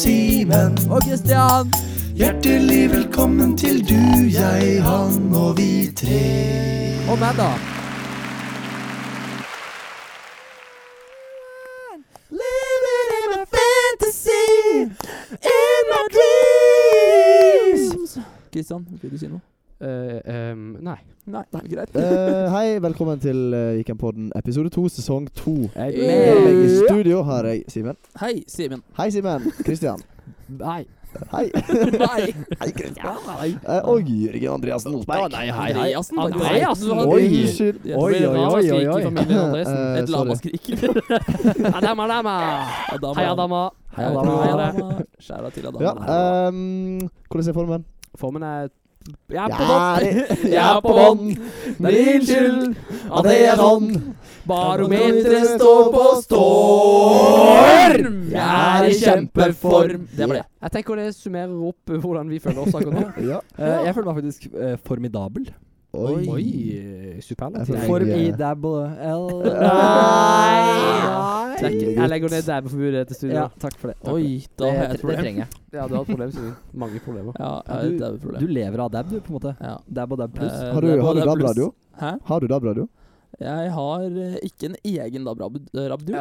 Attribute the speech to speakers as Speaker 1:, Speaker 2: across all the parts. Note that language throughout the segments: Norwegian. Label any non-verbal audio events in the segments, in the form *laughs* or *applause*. Speaker 1: Simen.
Speaker 2: Og Kristian.
Speaker 1: Hjertelig velkommen til du, jeg, han og vi tre.
Speaker 2: Og meg, da. Living in a fantasy, in my dreams. Kristian, vil du si noe?
Speaker 3: Eh, ehm, nei.
Speaker 2: Nei, greit.
Speaker 4: Eh, hei, velkommen til uh, Weekendpodden episode to, sesong to.
Speaker 3: Jeg
Speaker 2: Yeah.
Speaker 4: Med meg i
Speaker 2: Ja.
Speaker 4: studio har jeg Simen.
Speaker 2: Hei, Simen.
Speaker 4: Hei, Simen. Kristian.
Speaker 3: Nei.
Speaker 4: Hei.
Speaker 2: *laughs* Nei.
Speaker 4: hei, Kristian. Eh, og Jørgen Andreassen Osberg.
Speaker 3: nei,
Speaker 2: hei, hei. Andreassen, faktisk.
Speaker 3: Andreassen,
Speaker 2: Oi.
Speaker 3: oi,
Speaker 4: Unnskyld.
Speaker 2: Yes,
Speaker 3: oi,
Speaker 2: det blir
Speaker 3: oi,
Speaker 2: ramaskrik
Speaker 3: oi, oi.
Speaker 2: i familien Andresen.
Speaker 4: Eh,
Speaker 3: *laughs*
Speaker 2: Et
Speaker 4: sorry.
Speaker 2: lamaskrik.
Speaker 3: Adama, adama.
Speaker 2: Adama.
Speaker 3: Hei, Adama.
Speaker 2: Hei,
Speaker 3: Hei,
Speaker 2: Adama.
Speaker 3: Adama.
Speaker 2: Skjæra til Adama.
Speaker 4: Ja, ehm, hvordan er formen?
Speaker 3: Formen er Jeg er på
Speaker 4: Ja,
Speaker 3: bånn.
Speaker 4: det-
Speaker 3: Jeg er på bånn. Min skyld
Speaker 4: Ja, det er sånn.
Speaker 3: Barometeret står på storm. Jeg er i kjempeform.
Speaker 2: Det var det.
Speaker 3: Jeg tenker det summerer opp hvordan vi føler oss *laughs* akkurat nå.
Speaker 4: Ja.
Speaker 3: Eh, jeg
Speaker 2: føler meg faktisk formidabel.
Speaker 3: føler
Speaker 4: Oi.
Speaker 3: Oi,
Speaker 4: Jeg
Speaker 3: superlativ.
Speaker 4: føler-
Speaker 2: Formidable
Speaker 3: Nei.
Speaker 2: Takk.
Speaker 3: Jeg legger ned dabbeforbudet til studio.
Speaker 2: Ja, takk for det.
Speaker 3: Oi,
Speaker 2: da har jeg
Speaker 3: det,
Speaker 2: et
Speaker 3: det
Speaker 2: problem.
Speaker 3: trenger jeg. Ja, du har et problem, Simen. Mange problemer.
Speaker 2: Ja,
Speaker 5: Ja,
Speaker 2: jeg har et problem.
Speaker 5: Du lever av dab, du, på en måte.
Speaker 2: Ja.
Speaker 5: Dab og dab pluss.
Speaker 2: Eh,
Speaker 4: Har du,
Speaker 2: det er
Speaker 4: har du
Speaker 2: både pluss-
Speaker 4: DAB-radio?
Speaker 2: Hæ?
Speaker 4: Har du DAB-radio?
Speaker 2: Jeg har eh, ikke en egen DAB-radio.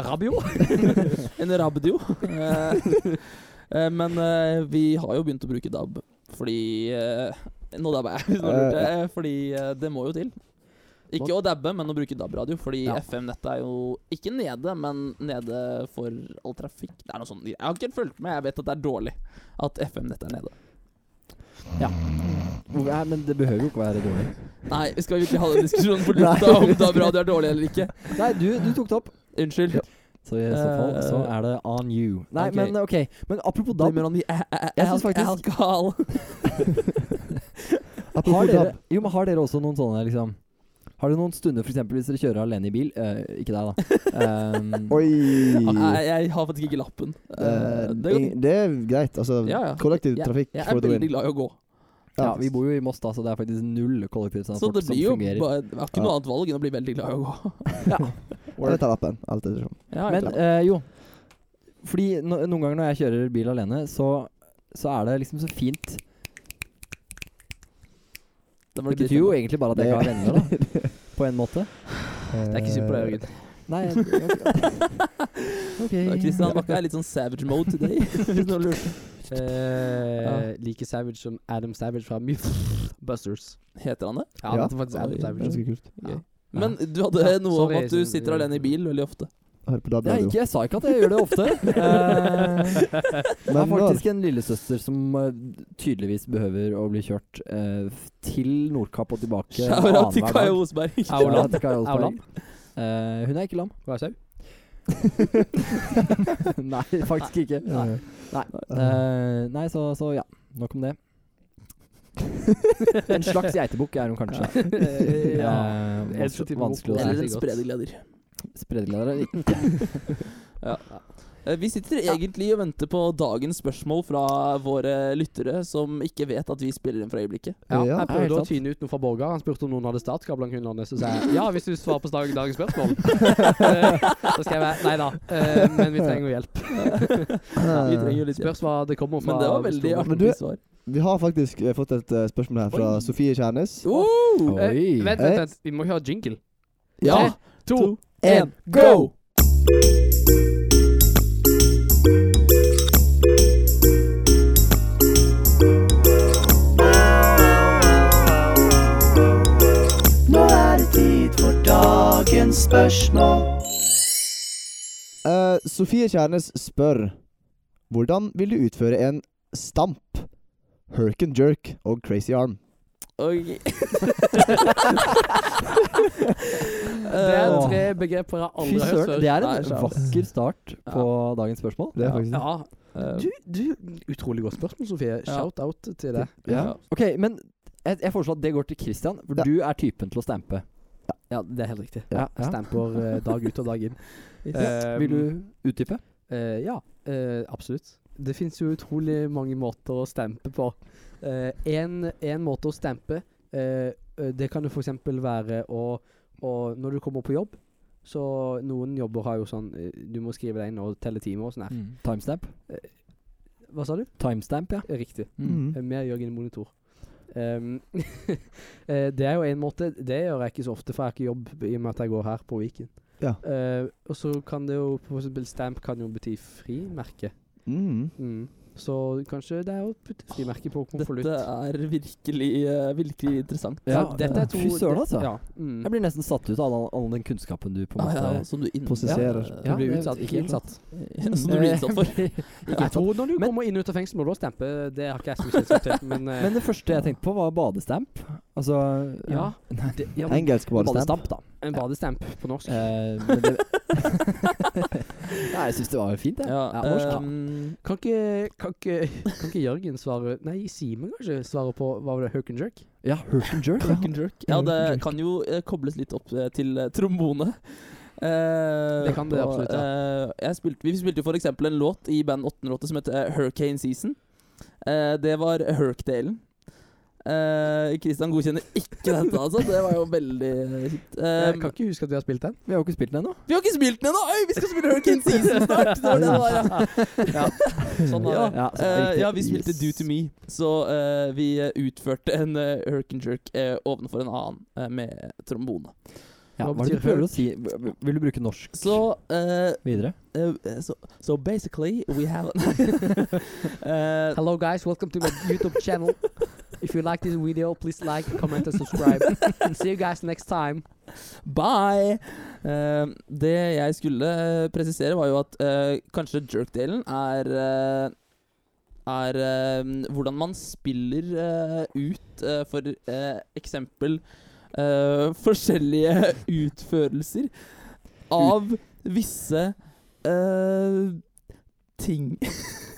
Speaker 3: Rabio.
Speaker 2: En rabdio. Eh, eh, *laughs* Men eh, vi har jo begynt å bruke DAB, fordi eh, Nå dabber jeg, hvis noen
Speaker 4: Eh,
Speaker 2: lurte. eh, Fordi eh, det må jo til. Ikke å dabbe, men å bruke DAB-radio, fordi
Speaker 3: Ja.
Speaker 2: FM-nettet er jo ikke nede, men nede for all trafikk. Det er noe sånn, Jeg har ikke fulgt med, jeg vet at det er dårlig at FM-nettet er nede.
Speaker 5: Hvor- Nei, men det behøver jo ikke være dårlig.
Speaker 2: Nei, vi skal virkelig ha den diskusjonen på lufta om DAB-radio er dårlig eller ikke.
Speaker 5: Nei, du, du tok det opp.
Speaker 2: Unnskyld.
Speaker 5: Så i så fall
Speaker 2: Eh,
Speaker 5: så er det on you. Nei,
Speaker 2: ok.
Speaker 5: men ok. Men apropos
Speaker 2: Da
Speaker 5: dab.
Speaker 2: blir man i al- al-
Speaker 5: Jeg synes faktisk- *laughs*
Speaker 2: alkohol.
Speaker 5: Har
Speaker 4: Apropos DAB.
Speaker 5: dere, jo, men har dere også noen sånne, liksom Har dere noen stunder, f.eks. hvis dere kjører alene i bil? eh, ikke deg, da. Um,
Speaker 4: Oi.
Speaker 2: Nei, jeg har faktisk ikke lappen. Eh,
Speaker 6: Ehm,
Speaker 4: Eh,
Speaker 2: det er jo-
Speaker 4: ing- det er greit. Altså,
Speaker 2: Ja, ja.
Speaker 4: kollektiv
Speaker 2: Ja,
Speaker 4: trafikk
Speaker 2: jeg
Speaker 4: for
Speaker 2: er
Speaker 4: the
Speaker 2: veldig
Speaker 4: win.
Speaker 2: glad i å gå.
Speaker 5: ja, vi bor jo i Moss, da, så det er faktisk null
Speaker 2: Så
Speaker 5: kollektivtransport
Speaker 2: det
Speaker 5: som
Speaker 2: blir jo
Speaker 5: fungerer.
Speaker 2: bare, det er ikke noe annet valg enn å bli veldig glad i å gå.
Speaker 4: Eller tar appen. Alt etter som.
Speaker 5: Men eh, jo Fordi no noen ganger når jeg kjører bil alene Så, så er det liksom så fint
Speaker 2: det, sånn-
Speaker 5: Det betyr jo egentlig bare at jeg ikke har venner da
Speaker 4: *laughs*
Speaker 5: På en måte
Speaker 3: Det er ikke synd på deg, Jørgen.
Speaker 5: Nei jeg-
Speaker 4: *laughs*
Speaker 5: Ok,
Speaker 4: Eh,
Speaker 2: Ja,
Speaker 5: okay.
Speaker 2: Kristian Bakke er litt sånn savage mode today. *laughs* Hvis noen lurte.
Speaker 3: Eh, like savage som Adam Savage fra Mythbusters.
Speaker 2: Heter han det?
Speaker 3: Ja,
Speaker 4: Ja.
Speaker 3: det er faktisk Adam
Speaker 2: Oi.
Speaker 3: Savage.
Speaker 4: Ganske kult.
Speaker 2: Men du hadde
Speaker 3: Ja,
Speaker 2: noe
Speaker 3: sorry,
Speaker 2: om at du
Speaker 3: sånn-
Speaker 2: sitter alene i bil veldig ofte.
Speaker 4: Hør på
Speaker 5: jeg,
Speaker 4: DAB-radio.
Speaker 5: ikke, jeg sa ikke at jeg gjør det
Speaker 4: *laughs*
Speaker 5: ofte
Speaker 2: *laughs*
Speaker 5: Eh, Jeg har
Speaker 4: Men når-
Speaker 5: faktisk en lillesøster som eh, tydeligvis behøver å bli kjørt eh, f- Til Nordkapp og tilbake
Speaker 2: Shout-out til
Speaker 5: annenhver
Speaker 2: Kai
Speaker 5: dag.
Speaker 2: Osberg.
Speaker 3: Au,
Speaker 5: Ja,
Speaker 3: lam.
Speaker 5: til Kai Olsberg.
Speaker 3: Au, lam.
Speaker 5: Eh, Hun er
Speaker 4: *laughs*
Speaker 5: ikke lam
Speaker 3: Hva er sau?
Speaker 5: Nei, faktisk ikke
Speaker 4: Ja, ja.
Speaker 5: Nei, eh, nei så, så ja. Nok om det. en
Speaker 3: *laughs*
Speaker 5: slags geitebukk er hun kanskje.
Speaker 4: *laughs*
Speaker 5: Eh,
Speaker 3: En slags
Speaker 5: vanskelig,
Speaker 3: type
Speaker 5: vanskelig
Speaker 2: *laughs*
Speaker 3: bukk.
Speaker 5: å
Speaker 2: Eller en
Speaker 3: det er godt.
Speaker 2: spredegleder.
Speaker 5: si. Spredegleder.
Speaker 2: Eh, Vi sitter egentlig og venter på dagens spørsmål fra våre lyttere som ikke vet at vi spiller inn for
Speaker 3: *laughs*
Speaker 2: øyeblikket.
Speaker 3: Ja,
Speaker 4: Ja,
Speaker 3: jeg
Speaker 5: er helt
Speaker 3: prøvde å
Speaker 5: sant.
Speaker 3: tyne ut noe fra Borgar. Han spurte om noen hadde startkabler han kunne låne. Så sa jeg ja, hvis du svarer på dag- dagens spørsmål. Eh, Så skrev jeg nei da, eh, men vi trenger jo hjelp.
Speaker 2: Vi trenger jo litt hjelp.
Speaker 3: Spørs hva det kommer fra.
Speaker 2: Men det var veldig
Speaker 3: Store.
Speaker 4: Men du-
Speaker 2: artig svar.
Speaker 4: Vi har faktisk eh, fått et eh, spørsmål her fra
Speaker 2: Oi.
Speaker 4: Sofie Kjærnes.
Speaker 2: Oh!
Speaker 3: Eh,
Speaker 5: Oi.
Speaker 3: Vent, vent, vent. Vi må høre jingle.
Speaker 2: Ja!
Speaker 3: Tre, to,
Speaker 2: En, go!
Speaker 1: Nå er det tid for dagens spørsmål.
Speaker 4: Eh, Sofie Kjærnes spør Hvordan vil du utføre en stamp, herk and jerk og crazy arm?
Speaker 2: Ok.
Speaker 3: *laughs* Det er
Speaker 5: Åh.
Speaker 3: tre begreper jeg
Speaker 5: Fy
Speaker 3: aldri har hørt
Speaker 5: søren,
Speaker 3: før.
Speaker 5: det er
Speaker 2: Nei,
Speaker 5: en
Speaker 2: skjønt.
Speaker 5: vakker start på dagens spørsmål.
Speaker 4: Det er faktisk
Speaker 3: Ja.
Speaker 2: Eh,
Speaker 3: Du, du, utrolig godt spørsmål, Sofie. Shout-out til deg.
Speaker 4: Ja.
Speaker 5: Ok, men jeg, jeg foreslår at det går til Christian, for
Speaker 4: Ja.
Speaker 5: du er typen til å stampe.
Speaker 3: Ja, det er helt riktig.
Speaker 5: Ja, ja.
Speaker 3: Stamper eh, dag ut og dag inn. Eh,
Speaker 5: Vil
Speaker 2: Um,
Speaker 5: du utdype?
Speaker 3: Eh, ja, eh, absolutt. Det finnes jo utrolig mange måter å stampe på. Én måte å stampe, eh, eh, det kan jo f.eks. være å, å Når du kommer på jobb, så noen jobber har jo sånn eh, Du må skrive deg inn og telle timer og sånn her.
Speaker 5: Timestamp?
Speaker 3: Hva sa du?
Speaker 5: Timestamp, ja.
Speaker 3: Riktig.
Speaker 5: Mm.
Speaker 3: Eh, Mer Jørgen Monitor. Ehm, *laughs* eh, det er jo en måte Det gjør jeg ikke så ofte, for jeg har ikke jobb i og med at jeg går her på Viken.
Speaker 4: Ja.
Speaker 3: Eh, og så kan det jo For eksempel stamp kan jo bety frimerke.
Speaker 4: Mm.
Speaker 3: Mm. Så kanskje det er å putte frimerke på konvolutt.
Speaker 2: Dette er virkelig, eh, virkelig interessant.
Speaker 5: Ja,
Speaker 3: dette er to
Speaker 5: fy søren, altså.
Speaker 3: Ja. Mm.
Speaker 5: Jeg blir nesten satt ut av all, all den kunnskapen du på en
Speaker 2: Ah,
Speaker 5: måte
Speaker 2: ja, som du inn-
Speaker 4: Prosesserer.
Speaker 2: Ja,
Speaker 3: Du blir
Speaker 5: det-
Speaker 3: utsatt, ikke innsatt.
Speaker 2: ja, *laughs* som du blir utsatt
Speaker 3: *laughs*
Speaker 2: for.
Speaker 3: Jeg tror når du
Speaker 5: Men-
Speaker 3: kommer inn ut av fengsel, må du også stampe. Det har ikke jeg så kjennskap til, men, eh,
Speaker 5: Men det første jeg tenkte på, var badestamp. Altså
Speaker 3: ja,
Speaker 5: Nei,
Speaker 3: det, ja men,
Speaker 4: Engelsk badestamp.
Speaker 5: badestamp, da.
Speaker 3: En badestamp på norsk.
Speaker 5: Eh, men det *laughs* Nei, jeg syns det var fint, jeg.
Speaker 2: Ja,
Speaker 5: Ja, norsk, da.
Speaker 2: ehm,
Speaker 3: Kan ikke, kan, ikke, kan ikke Jørgen svare Nei, Simen kanskje svarer på Hva var det, Hook and Jerk?
Speaker 5: ja Herc and Jerk.
Speaker 2: Crack and jerk. Ja, det kan jo eh, kobles litt opp eh, til eh, trombone. Eh,
Speaker 3: Det kan det
Speaker 2: og,
Speaker 3: absolutt,
Speaker 2: eh, jeg spilte, vi spilte jo for eksempel en låt i band 808 som heter eh, Hurricane Season. Eh, det var Herc-delen. Eh, Kristian godkjenner ikke dette, altså. Det var jo veldig eh, kjipt. Eh,
Speaker 3: Jeg kan ikke huske at vi har spilt den. *laughs*
Speaker 5: Vi har jo ikke spilt den ennå.
Speaker 2: vi har ikke spilt den ennå! Oi, Vi skal spille Hurricane Season snart! Det var det det var, ja. Sånn var det.
Speaker 5: Ja, så
Speaker 2: Eh,
Speaker 5: riktig.
Speaker 2: ja, vi spilte
Speaker 5: Yes.
Speaker 2: Do to me, så eh, vi eh, utførte en uh, herk and jerk eh, ovenfor en annen eh, med trombone.
Speaker 5: Ja,
Speaker 3: Hva
Speaker 5: hva er
Speaker 3: betyr
Speaker 5: det du prøver å si? Vil du bruke norsk
Speaker 2: Så eh,
Speaker 5: videre?
Speaker 2: eh, så- so basically we have *laughs* Eh,
Speaker 3: Hello guys, welcome to my YouTube channel. If you like this video, please like, comment and subscribe. And see you guys next time.
Speaker 2: Bye! Eh, det jeg skulle eh, presisere, var jo at eh, kanskje jerk-delen er eh, Er eh, hvordan man spiller eh, ut eh, for eh, eksempel eh, forskjellige *laughs* utførelser av visse eh, ting.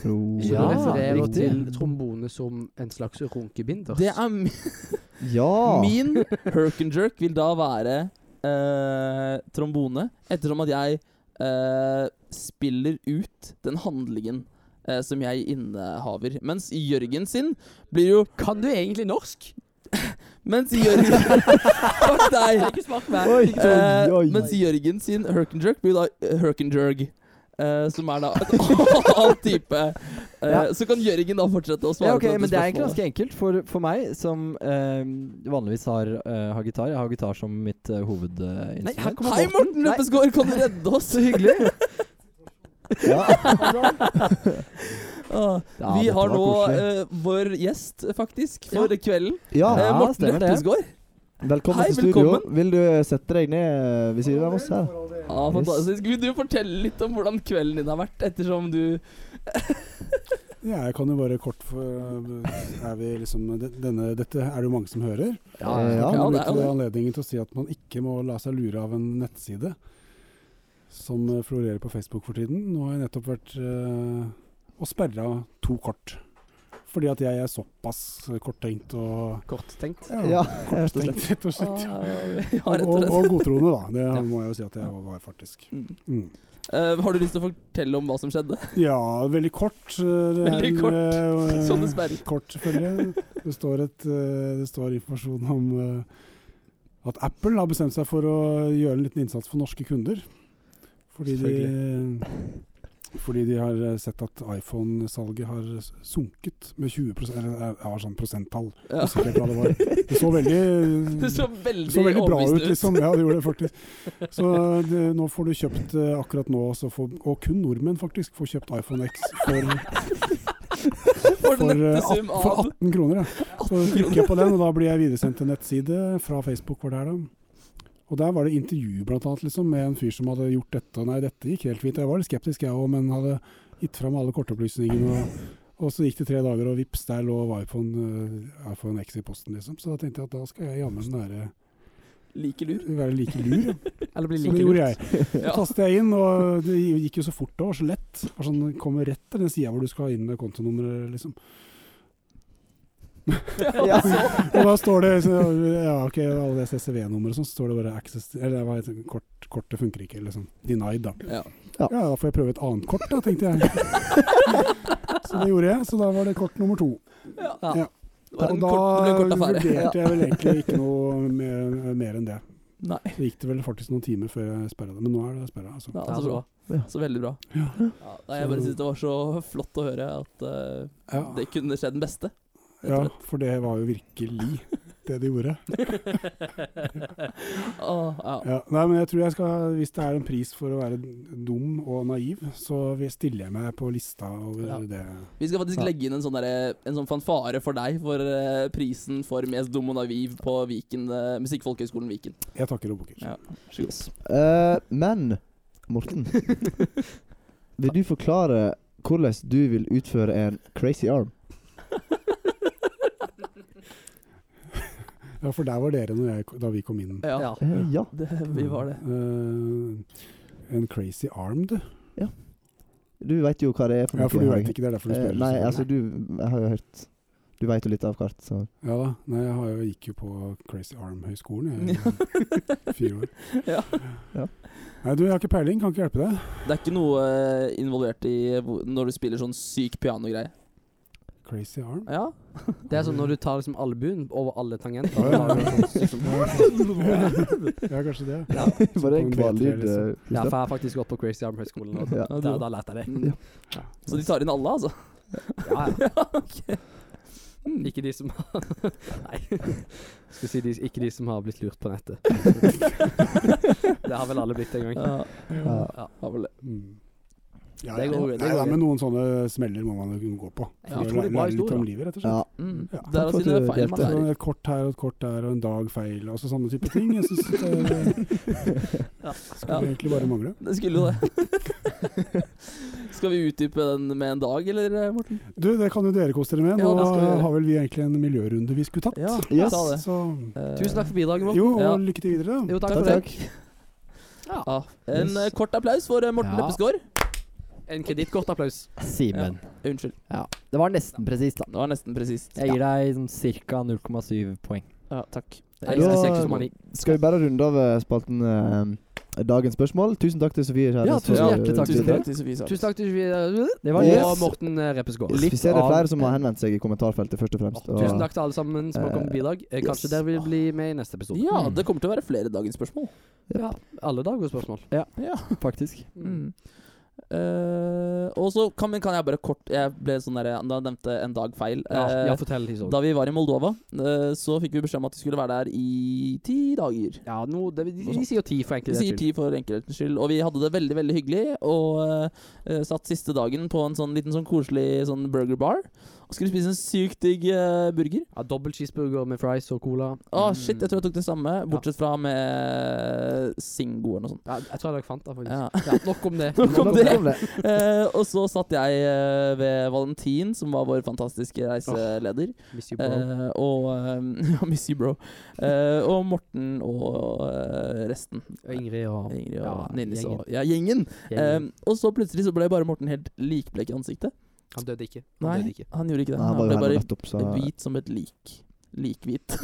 Speaker 3: Så
Speaker 5: Ja,
Speaker 3: du refererer
Speaker 5: riktig.
Speaker 3: til trombone som en slags runkebinder.
Speaker 2: Det er mi-
Speaker 4: Ja!
Speaker 2: Min herk and jerk vil da være eh, trombone, ettersom at jeg eh, spiller ut den handlingen eh, som jeg innehaver. Mens Jørgen sin blir jo
Speaker 3: Kan du egentlig norsk?
Speaker 2: Mens Jørgen Fuck deg!
Speaker 3: Ikke smak meg.
Speaker 4: Oi,
Speaker 2: Eh,
Speaker 4: oi, oi.
Speaker 2: mens Jørgen sin herk and jerk blir da eh, herk and jerk. eh, som er da *laughs* en annen type. Eh,
Speaker 5: Ja.
Speaker 2: Så kan Jørgen da fortsette å svare
Speaker 5: Ja,
Speaker 2: på
Speaker 5: ok,
Speaker 2: dette
Speaker 5: men det er egentlig
Speaker 2: sånn spørsmålet.
Speaker 5: ganske enkelt for, for meg, som eh, vanligvis har, eh, har gitar. Jeg har gitar som mitt eh,
Speaker 3: Nei, her
Speaker 5: hovedinstrument.
Speaker 3: kommer
Speaker 2: Hei, Morten
Speaker 3: Morten.
Speaker 5: Nei.
Speaker 2: Øppesgaard, kan du redde oss? Så hyggelig.
Speaker 4: *laughs* Ja.
Speaker 2: *laughs* Ah,
Speaker 5: Ja,
Speaker 2: vi
Speaker 5: dette
Speaker 2: har
Speaker 5: var
Speaker 2: nå
Speaker 5: koselig.
Speaker 2: eh, vår gjest, faktisk, for kvelden.
Speaker 4: ja.
Speaker 2: Eh, Morten
Speaker 5: stemmer det.
Speaker 2: Øppesgaard.
Speaker 4: Velkommen
Speaker 2: Hei,
Speaker 4: til studio.
Speaker 2: velkommen.
Speaker 4: Vil du eh, sette deg ned eh, ved siden av oss her?
Speaker 2: Ja, fantastisk. Vil du fortelle litt om hvordan kvelden din har vært, ettersom du
Speaker 6: Ja, jeg kan jo bare kort for, er vi liksom, de- denne, Dette er det jo mange som hører.
Speaker 4: Ja, Eh,
Speaker 6: Jeg
Speaker 4: ja.
Speaker 6: kan
Speaker 2: det er jo
Speaker 6: bruke
Speaker 2: det.
Speaker 6: anledningen til å si at man ikke må la seg lure av en nettside som eh, florerer på Facebook for tiden. Nå har jeg nettopp vært eh, og sperra to kort. Fordi at jeg er såpass korttenkt og
Speaker 3: Korttenkt.
Speaker 4: Ja, *laughs* rett og slett.
Speaker 6: korttenkt, rett og
Speaker 2: ah,
Speaker 6: slett.
Speaker 2: *laughs* ja,
Speaker 6: Og,
Speaker 2: rett og
Speaker 6: og,
Speaker 2: slett.
Speaker 6: og godtroende, da. Det
Speaker 2: *laughs*
Speaker 3: Ja.
Speaker 6: må jeg jo si at jeg var, faktisk.
Speaker 2: Mm.
Speaker 6: Mm.
Speaker 2: Eh, Har du lyst til å fortelle om hva som skjedde?
Speaker 6: Ja, veldig kort. eh, det er
Speaker 2: Veldig
Speaker 6: en,
Speaker 2: kort.
Speaker 6: eh, eh,
Speaker 2: *laughs* Sånne sperrer.
Speaker 6: Kort, selvfølgelig. Det står, et, eh, det står informasjon om eh, at Apple har bestemt seg for å gjøre en liten innsats for norske kunder. Fordi de, fordi de har eh, sett at iPhone-salget har sunket med 20 eller Jeg har sånn prosenttall.
Speaker 2: Ja.
Speaker 6: Usikkert hva det var. Det så
Speaker 2: *laughs*
Speaker 6: veldig
Speaker 2: Det så
Speaker 6: det
Speaker 2: veldig,
Speaker 6: så veldig bra ut,
Speaker 2: overbevisende
Speaker 6: liksom. Ja, det gjorde det faktisk. Så det, nå får du kjøpt eh, akkurat nå, så får, og kun nordmenn faktisk, får kjøpt iPhone X for
Speaker 2: For
Speaker 6: for,
Speaker 2: den
Speaker 6: eh,
Speaker 2: nette
Speaker 6: at-
Speaker 2: sum
Speaker 6: for
Speaker 2: av
Speaker 6: 18 kroner, ja. Så trykker jeg på den, og da blir jeg videresendt til en nettside fra Facebook. hvor det er da. Og der var det intervju blant annet, liksom, med en fyr som hadde gjort dette. Og nei, dette gikk helt fint. Jeg var litt skeptisk jeg òg, men hadde gitt fram alle kortopplysningene. Og, og så gikk det tre dager, og vips, der lå iPhone, eh, iPhone X i posten, liksom. Så da tenkte jeg at da skal jeg jammen være,
Speaker 2: like lur.
Speaker 6: være like lur. ja.
Speaker 3: Eller blir
Speaker 6: Så
Speaker 3: like
Speaker 6: det
Speaker 3: lurt.
Speaker 6: gjorde jeg. Så tastet jeg inn, og det gikk jo så fort da, og så lett. Det var Sånn, det kommer rett til den sida hvor du skal inn med kontonummeret, liksom.
Speaker 2: *laughs*
Speaker 4: Ja.
Speaker 6: Og da står det så, Ja, ok, alle det CCV-nummeret og sånn, så står det bare access Eller hva heter det? Kort, kortet funker ikke, liksom. Denied, da.
Speaker 2: Ja.
Speaker 4: Ja.
Speaker 6: Ja, da får jeg prøve et annet kort, da, tenkte jeg.
Speaker 2: *laughs*
Speaker 6: Så det gjorde jeg. Så da var det kort nummer to.
Speaker 3: Ja.
Speaker 6: Ja.
Speaker 2: Det var
Speaker 6: og
Speaker 2: en
Speaker 6: da
Speaker 2: kort, det ble en kort affære. *laughs*
Speaker 6: vurderte jeg vel egentlig ikke noe mer, mer enn det.
Speaker 2: Nei.
Speaker 6: Så gikk det vel faktisk noen timer før jeg sperra det, men nå er det altså. sperra. Altså.
Speaker 2: Ja, så bra. Så veldig bra.
Speaker 6: Ja.
Speaker 2: Ja, nei, jeg bare syns det var så flott å høre at eh,
Speaker 6: Ja.
Speaker 2: det kunne skje den beste.
Speaker 6: ja, for det var jo virkelig det de
Speaker 2: *laughs*
Speaker 6: gjorde.
Speaker 2: Åh, ja.
Speaker 6: Ja, nei, men jeg tror jeg skal, Hvis det er en pris for å være dum og naiv, så vi- stiller jeg meg på lista over
Speaker 2: Ja.
Speaker 6: det.
Speaker 2: Vi skal faktisk
Speaker 6: Ja.
Speaker 2: legge inn en sånn, derre- en sånn fanfare for deg for eh, prisen for mest dum og naiv på Viken, eh, Musikkfolkehøgskolen Viken.
Speaker 6: Jeg takker og bukker.
Speaker 2: Ja. Skyld.
Speaker 4: Eh, men Morten, vil du forklare hvordan du vil utføre en crazy arm?
Speaker 6: Ja, for der var dere når jeg, da vi kom inn.
Speaker 2: Ja,
Speaker 3: Ja.
Speaker 4: Eh, ja.
Speaker 2: Det, vi var det.
Speaker 6: Eh, en crazy armed?
Speaker 4: Du veit jo hva det er for
Speaker 6: Ja, for du
Speaker 4: har
Speaker 6: veit
Speaker 4: jeg-
Speaker 6: ikke, det sånn. er derfor du
Speaker 4: Eh,
Speaker 6: spør.
Speaker 4: nei,
Speaker 6: så-
Speaker 4: altså, du jeg har jo hørt Du veit jo litt av kart,
Speaker 6: *laughs*
Speaker 4: så
Speaker 6: Ja da. Nei, jeg har jo, gikk jo på Crazy Arm-høgskolen i
Speaker 2: *laughs*
Speaker 6: fire år.
Speaker 2: Ja.
Speaker 4: Ja.
Speaker 6: Nei, du, jeg har ikke peiling, kan ikke hjelpe deg.
Speaker 4: Mm.
Speaker 2: Det er ikke noe eh, involvert i hvor- når du spiller sånn syk pianogreie.
Speaker 6: Crazy Arm?
Speaker 2: Ja.
Speaker 3: Det er sånn når du tar liksom albuen over alle tangenter.
Speaker 6: Ja, ja,
Speaker 3: da har du
Speaker 6: ja.
Speaker 3: sånn sykt som-
Speaker 6: Ja, kanskje det.
Speaker 3: Ja.
Speaker 4: Bare en
Speaker 6: på en B3,
Speaker 4: kvallyd.
Speaker 6: liksom.
Speaker 4: eh,
Speaker 3: Ja,
Speaker 4: husker
Speaker 3: for jeg har faktisk gått på Crazy Arm Høgskolen, og
Speaker 4: Ja.
Speaker 3: da, da, da lærte jeg det.
Speaker 2: Mm. Så de tar inn alle, altså?
Speaker 3: Ja, *laughs* ja. Hmm.
Speaker 2: ok. Mm.
Speaker 3: Ikke de som har *laughs* Nei. Skal si de, ikke de som har blitt lurt på *laughs* nettet. Det har vel alle blitt en gang.
Speaker 2: Ja,
Speaker 4: Ja.
Speaker 2: har vel det.
Speaker 6: Mm. Ja,
Speaker 3: Det
Speaker 6: ja.
Speaker 3: går jo, det
Speaker 6: Nei,
Speaker 3: går
Speaker 6: ja,
Speaker 3: jo.
Speaker 6: men noen sånne smeller må man jo gå på.
Speaker 3: Ja,
Speaker 6: For å
Speaker 3: utrolig
Speaker 6: lære-
Speaker 3: bra
Speaker 6: lære litt
Speaker 3: historie,
Speaker 6: om
Speaker 3: da.
Speaker 6: livet, rett og slett.
Speaker 4: Ja.
Speaker 2: Mm.
Speaker 6: Ja.
Speaker 2: Det er
Speaker 4: Takk for
Speaker 2: å
Speaker 4: at du
Speaker 2: sine feil man
Speaker 6: Det er
Speaker 2: lærer.
Speaker 6: sånn et kort her og et kort der og en dag feil, altså sånne type ting. Jeg synes det
Speaker 2: Ja.
Speaker 6: skulle egentlig bare mangle.
Speaker 2: Det skulle jo det. *laughs* Skal vi utdype den med en dag, eller, eh, Morten?
Speaker 6: Du, det kan jo dere kose dere med.
Speaker 2: Ja, det skal vi
Speaker 6: Nå
Speaker 2: gjøre.
Speaker 6: har vel vi egentlig en miljørunde vi skulle tatt.
Speaker 2: Ja,
Speaker 4: Yes.
Speaker 2: ta det.
Speaker 6: Så
Speaker 2: Eh,
Speaker 3: Tusen takk for bidraget vårt.
Speaker 6: jo, og
Speaker 2: Ja.
Speaker 6: lykke til videre. da.
Speaker 3: Jo, takk
Speaker 4: Takk,
Speaker 3: for det.
Speaker 4: takk.
Speaker 2: ja. En
Speaker 5: Yes.
Speaker 2: eh, kort applaus for eh, Morten
Speaker 5: Ja.
Speaker 2: Leppeskår.
Speaker 3: En kredittkortapplaus.
Speaker 5: Simen.
Speaker 2: Unnskyld.
Speaker 5: Det var nesten presist, da.
Speaker 2: Det var nesten presist.
Speaker 5: Jeg gir deg sånn ca. 0,7 poeng.
Speaker 2: Ja, takk.
Speaker 3: Jeg
Speaker 4: Ja.
Speaker 3: elsker 6,9.
Speaker 4: Skal vi bare runde av eh, spalten eh, dagens spørsmål? Tusen takk til Sofie. Kjærnes,
Speaker 5: Ja, tusen
Speaker 4: for-
Speaker 5: hjertelig takk.
Speaker 2: Tusen takk til Sofie Sars.
Speaker 3: Tusen takk til Sofie
Speaker 5: Det var
Speaker 3: og
Speaker 4: Yes.
Speaker 3: Morten eh, Reppesgaard.
Speaker 4: Vi ser det er
Speaker 5: av-
Speaker 4: flere som har henvendt seg i kommentarfeltet, først og fremst. Og
Speaker 3: Tusen takk til alle sammen som har kommet med bidrag. Eh, Kanskje
Speaker 4: yes.
Speaker 3: dere vil bli med i neste episode.
Speaker 2: Ja,
Speaker 5: Mm.
Speaker 2: det kommer til å være flere dagens spørsmål.
Speaker 3: Ja, Alle dager spørsmål.
Speaker 2: Ja.
Speaker 5: faktisk.
Speaker 2: Mm. Eh, og så kan, men kan jeg bare kort Jeg ble sånn der, Da nevnte en dag feil.
Speaker 3: Ja,
Speaker 2: Eh,
Speaker 3: ja fortell historien.
Speaker 2: da vi var i Moldova, eh, så fikk vi beskjed om at vi skulle være der i ti dager.
Speaker 3: Ja, no, det, de, de sier jo ti for
Speaker 2: Vi
Speaker 3: enkelte.
Speaker 2: sier ti for enkelhetens skyld. Og vi hadde det veldig veldig hyggelig. Og eh, eh, satt siste dagen på en sånn liten sånn koselig sånn burger bar. Og skulle spise en sykt digg eh, burger.
Speaker 3: Ja, Dobbel cheeseburger med fries og cola.
Speaker 2: Å, shit, jeg tror jeg tok det samme, bortsett fra eh, med Singo eller noe sånt.
Speaker 3: Mm. Ja, jeg tror jeg dere fant det, faktisk.
Speaker 2: sånn. Ja.
Speaker 3: Ja, nok om det.
Speaker 4: *laughs*
Speaker 2: Nok om
Speaker 4: Nå
Speaker 2: det.
Speaker 4: kom
Speaker 2: Eh, og så satt jeg eh, ved Valentin, som var vår fantastiske reiseleder.
Speaker 3: Miss you, bro.
Speaker 2: Eh, og eh, *laughs* Ja, miss you, bro. Eh, og Morten og eh, resten.
Speaker 3: Og Ingrid og
Speaker 2: Ingrid og
Speaker 3: Ja,
Speaker 2: Nils
Speaker 3: gjengen.
Speaker 2: og Ja, gjengen.
Speaker 3: gjengen.
Speaker 2: Eh, og så plutselig så ble bare Morten helt likblek i ansiktet.
Speaker 3: Han døde ikke. Han
Speaker 2: Nei,
Speaker 3: døde ikke.
Speaker 2: han gjorde ikke det.
Speaker 4: Nei,
Speaker 2: Han,
Speaker 4: han var jo
Speaker 2: ble
Speaker 4: her
Speaker 2: bare
Speaker 4: nettopp, så
Speaker 2: hvit som et lik.
Speaker 3: *laughs*
Speaker 2: Likhvit.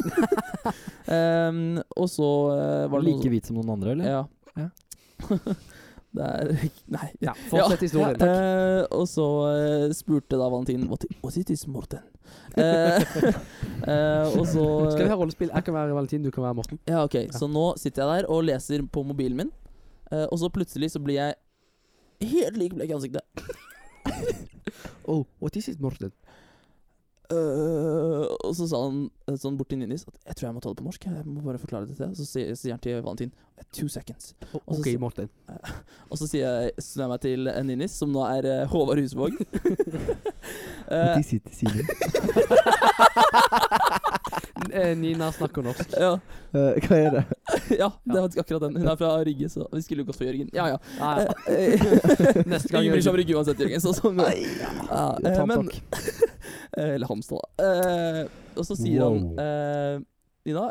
Speaker 2: um, og så eh, var det
Speaker 5: like hvit som noen andre,
Speaker 2: noe
Speaker 5: eller?
Speaker 2: Ja.
Speaker 5: Ja.
Speaker 2: *laughs* det er Nei. *laughs*
Speaker 3: Ja, fortsett historien.
Speaker 2: Ja, eh, og så eh, spurte da Valentin What, what it is Morten?
Speaker 3: *laughs*
Speaker 2: Eh, eh, og så eh,
Speaker 3: Skal vi ha rollespill? Jeg kan være Valentin, du kan være Morten.
Speaker 2: Ja, ok. Så nå sitter jeg der og leser på mobilen min, eh, og så plutselig så blir jeg helt likblek i ansiktet.
Speaker 3: Oh, what is it, Morten?
Speaker 2: Øh, og så sa han eh, sånn borti Ninnis at jeg tror jeg må ta det på norsk. Jeg må bare forklare det til deg. Så sier, sier han til Valentin eh, two seconds.
Speaker 3: Oh,
Speaker 2: Og så
Speaker 3: OK,
Speaker 2: sier-
Speaker 3: Morten.
Speaker 2: Og så sier jeg, snur jeg meg til eh, Ninnis, som nå er eh, Håvard Husvåg. Eh, *laughs*
Speaker 4: De sitter siden.
Speaker 3: Eh, Nina snakker norsk.
Speaker 2: ja,
Speaker 4: Eh, hva er det?
Speaker 2: ja, det er faktisk akkurat den. Hun er fra Rygge, så vi skulle jo gått for Jørgen. *laughs*
Speaker 3: *laughs*
Speaker 2: Ja, ja.
Speaker 3: Nei,
Speaker 2: Eh, eh,
Speaker 3: Neste gang
Speaker 2: Ingen bryr seg om
Speaker 3: Jørgen.
Speaker 2: Rygge uansett, Jørgen. Så sånn ja, eh,
Speaker 5: Ta
Speaker 2: men-
Speaker 5: takk.
Speaker 2: Eh, Eller Hamstad, da. Eh, og så sier
Speaker 6: Wow.
Speaker 2: han eh, Nina,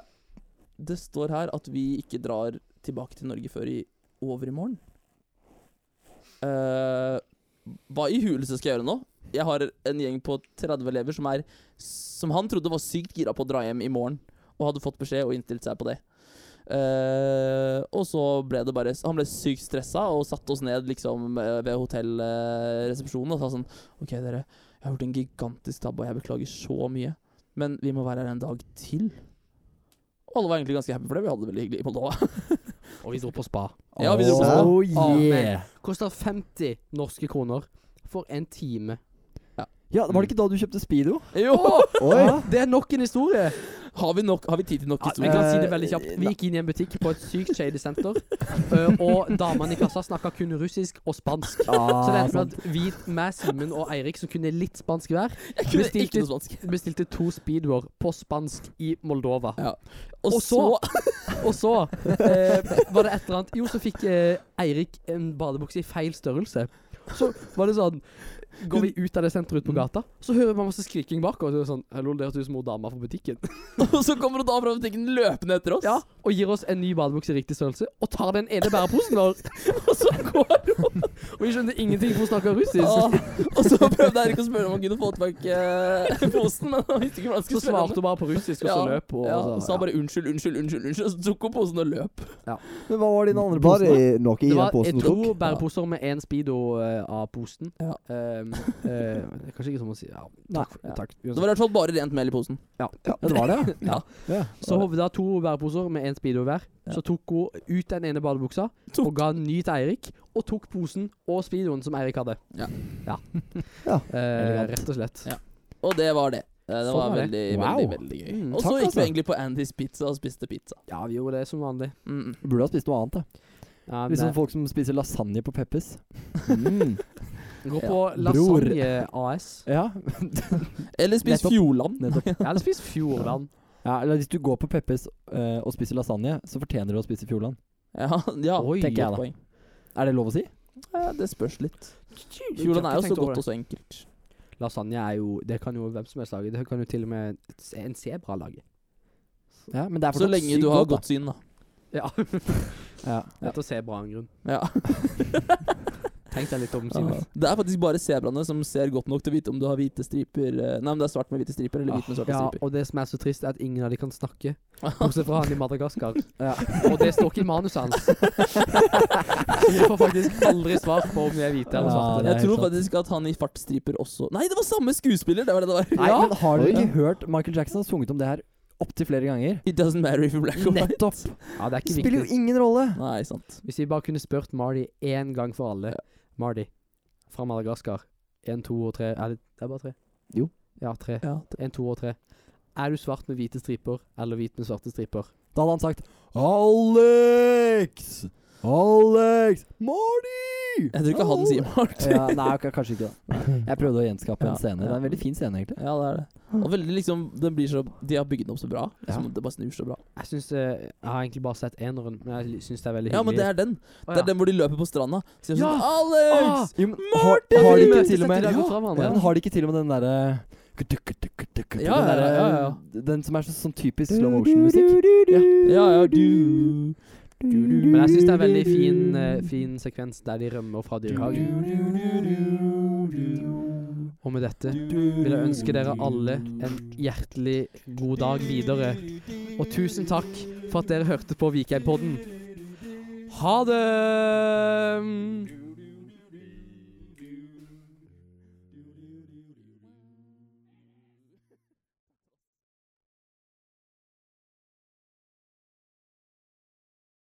Speaker 2: det står her at vi ikke drar tilbake til Norge før i overmorgen. Eh, hva i huleste skal jeg gjøre nå? Jeg har en gjeng på 30 elever som, er, som han trodde var sykt gira på å dra hjem i morgen, og hadde fått beskjed og innstilt seg på det. Eh, og så ble det bare Han ble sykt stressa og satte oss ned liksom eh, ved hotellresepsjonen og sa sånn OK, dere, jeg har gjort en gigantisk tabbe, og jeg beklager så mye. Men vi må være her en dag til. Og alle var egentlig ganske happy for det. Vi hadde det veldig hyggelig i Moldova.
Speaker 3: *laughs*
Speaker 2: Eh,
Speaker 3: Og vi dro på spa.
Speaker 2: Ja, vi dro på spa.
Speaker 5: Oh
Speaker 3: Å,
Speaker 5: yeah.
Speaker 3: men- Koster 50 norske kroner for en time.
Speaker 5: Ja, Var det ikke da du kjøpte Speedo?
Speaker 2: Jo!
Speaker 4: Oi!
Speaker 3: Det er nok en historie!
Speaker 2: Har vi, nok, har vi tid til nok
Speaker 3: Vi
Speaker 2: historie?
Speaker 3: kan si det
Speaker 5: Eh,
Speaker 3: veldig kjapt. Vi
Speaker 5: nei.
Speaker 3: gikk inn i en butikk på et sykt shady senter, ø, og damene i kassa snakka kun russisk og spansk.
Speaker 2: Ah,
Speaker 3: Så det endte med at vi, meg, Simen og Eirik, som kunne litt spansk hver,
Speaker 2: Jeg kunne
Speaker 3: bestilte-
Speaker 2: ikke noe spansk.
Speaker 3: bestilte to speedoer på spansk i Moldova.
Speaker 2: Og
Speaker 3: Og
Speaker 2: så
Speaker 3: så- Og så
Speaker 2: *laughs*
Speaker 3: eh, var det et eller annet Jo, så fikk eh, Eirik en badebukse i feil størrelse. Så var det sånn Går vi ut av det senteret ut
Speaker 2: Mm.
Speaker 3: på gata, så hører man masse skriking bak oss. Og så er det sånn Hallo, det høres ut som hun dama fra
Speaker 2: *laughs*
Speaker 3: butikken.
Speaker 2: Og så kommer hun da fra butikken løpende etter oss.
Speaker 3: Ja, Og gir oss en ny badebukse i riktig størrelse, og tar den ene bæreposen
Speaker 2: *laughs*
Speaker 3: vår. Og så går hun. Og vi skjønte ingenting, for hun snakker russisk.
Speaker 2: Ah, og så prøvde Eirik å spørre om han kunne få tilbake eh, posen, men han visste ikke hvordan han
Speaker 3: Så
Speaker 2: skulle spørre. om
Speaker 3: svarte
Speaker 2: det.
Speaker 3: hun bare på russisk, og så
Speaker 2: Ja,
Speaker 3: løp hun.
Speaker 2: Ja,
Speaker 3: og sånn.
Speaker 2: og
Speaker 3: så-
Speaker 2: sa bare unnskyld, unnskyld, unnskyld, unnskyld, og så tok hun posen og løp.
Speaker 5: Men hva var dine andre
Speaker 4: Var
Speaker 5: posene?
Speaker 4: det noe i
Speaker 3: Det
Speaker 4: den
Speaker 3: var,
Speaker 4: posen
Speaker 3: jeg
Speaker 4: du
Speaker 3: tror
Speaker 4: tok?
Speaker 3: bæreposer med én speedo eh, av posen.
Speaker 2: Ja.
Speaker 3: Ehm, eh, det er kanskje ikke sånn å si ja, Takk.
Speaker 2: Nei.
Speaker 3: takk.
Speaker 2: Så var det i hvert fall bare rent mel i posen.
Speaker 5: Ja, det var det, ja.
Speaker 2: Ja.
Speaker 5: ja.
Speaker 3: Så hovet da to bæreposer med én speedo hver. Så tok hun ut den ene badebuksa
Speaker 2: Tok-
Speaker 3: og ga en ny til Eirik. Og tok posen og speedoen som Eirik hadde.
Speaker 2: Ja.
Speaker 3: Ja.
Speaker 4: Ja.
Speaker 3: Eh, rett og slett.
Speaker 2: Ja. Og det var det. Eh, Det
Speaker 3: Sånn
Speaker 2: var
Speaker 3: var det.
Speaker 2: veldig,
Speaker 3: Wow.
Speaker 2: veldig veldig gøy.
Speaker 3: Mm,
Speaker 2: og så gikk
Speaker 5: takk,
Speaker 2: vi
Speaker 5: altså.
Speaker 2: egentlig på Andys pizza og spiste pizza.
Speaker 3: Ja, vi gjorde det som vanlig.
Speaker 2: Mm.
Speaker 5: Burde ha spist noe annet. da.
Speaker 3: Ja,
Speaker 5: Litt
Speaker 3: men, Mm.
Speaker 5: sånn folk som spiser lasagne på Peppes.
Speaker 3: eh, gå på
Speaker 5: Bror.
Speaker 3: Lasagne AS.
Speaker 5: *laughs* Ja.
Speaker 2: Eller spis
Speaker 5: Nettopp.
Speaker 2: Fjordland. *laughs*
Speaker 5: Nettopp.
Speaker 3: Jeg hadde spist Fjordland.
Speaker 5: Ja, eller hvis du går på Peppes eh, og spiser lasagne, så fortjener du å spise Fjordland.
Speaker 2: Ja, ja
Speaker 3: Oi,
Speaker 2: tenker
Speaker 5: ja da.
Speaker 2: jeg da. Poeng.
Speaker 5: Er det lov å si?
Speaker 2: Eh, Det spørs litt. Fjordland er jo så godt og så enkelt.
Speaker 3: Lasagne er jo Det kan jo hvem som helst lage. Det kan jo til og med et- en sebra lage.
Speaker 5: Ja, men det er
Speaker 2: Så
Speaker 5: fortsatt
Speaker 2: lenge
Speaker 5: sykt
Speaker 2: du har
Speaker 5: godt,
Speaker 2: godt syn, da.
Speaker 3: Ja.
Speaker 5: da. Ja.
Speaker 3: Etter sebra av en grunn.
Speaker 2: Ja.
Speaker 3: Tenk deg litt om,
Speaker 2: Ja.
Speaker 3: Simen.
Speaker 2: *laughs* Det er faktisk bare sebraene som ser godt nok til å vite om du har hvite striper eh, Nei, om det er svart med hvite striper eller hvit med svarte
Speaker 3: Ah, Ja,
Speaker 2: striper.
Speaker 3: og det som er så trist, er at ingen av de kan snakke.
Speaker 2: Ja,
Speaker 3: Bortsett fra han i Madagaskar.
Speaker 5: Ja.
Speaker 3: Og det står ikke i
Speaker 2: *laughs*
Speaker 3: manuset hans. Så vi får faktisk aldri svar på om vi er hvite eller
Speaker 5: Ja,
Speaker 3: svarte.
Speaker 2: Ah,
Speaker 5: det er
Speaker 2: jeg tror
Speaker 5: helt sant.
Speaker 2: faktisk at han i fartsstriper også Nei, det var samme skuespiller! Det var det det var.
Speaker 5: Nei, men har dere
Speaker 4: Oi.
Speaker 5: ikke hørt Michael Jackson har sunget om det her opptil flere ganger?
Speaker 2: It doesn't matter if you're black or white.
Speaker 5: Nettopp!
Speaker 3: Ja, det er
Speaker 5: Det
Speaker 3: ikke
Speaker 5: spiller jo
Speaker 3: viktig.
Speaker 5: ingen rolle!
Speaker 2: Nei, sant.
Speaker 3: Hvis vi bare kunne spurt Mardi én gang for alle. Mardi fra Madagaskar. Én, to og tre. Er det, det er bare tre?
Speaker 4: Jo.
Speaker 3: Ja, tre.
Speaker 2: Ja,
Speaker 3: Én, to og tre. Er du svart med hvite striper, eller hvit med svarte striper?
Speaker 5: Da hadde han sagt Alex! Alex! Marty!
Speaker 2: Jeg tror ikke han sier Mart.
Speaker 5: ja, Nei, k- kanskje ikke. da Jeg prøvde å gjenskape
Speaker 2: Ja,
Speaker 5: en scene. Det er en
Speaker 2: ja.
Speaker 5: veldig fin scene, egentlig.
Speaker 2: *laughs* Ja, det er det. Og veldig liksom den blir så, De har bygd den opp så bra. Liksom, Det bare snur så bra.
Speaker 3: Jeg syns eh, Jeg har egentlig bare sett eneren, men jeg syns det er veldig
Speaker 2: Ja, men
Speaker 3: hyggelig.
Speaker 2: det er den.
Speaker 3: Å,
Speaker 2: Det er den hvor de løper på stranda. Så de er
Speaker 3: Ja!
Speaker 2: sånn Alex!
Speaker 5: Jo, men har,
Speaker 2: Marty!
Speaker 5: har de ikke
Speaker 2: Setter
Speaker 5: til og med
Speaker 3: de godt fra hverandre?
Speaker 5: ja, men Har de ikke til og med den derre den,
Speaker 2: Ja, ja,
Speaker 5: derre-
Speaker 2: ja, ja,
Speaker 5: den som er så, sånn typisk slow motion-musikk. Ja.
Speaker 2: Ja, ja, du
Speaker 3: Men jeg syns det er en veldig fin, eh, fin sekvens der de rømmer fra dyrehagen. Og med dette vil jeg ønske dere alle en hjertelig god dag videre. Og tusen takk for at dere hørte på Vikingpodden. Ha det!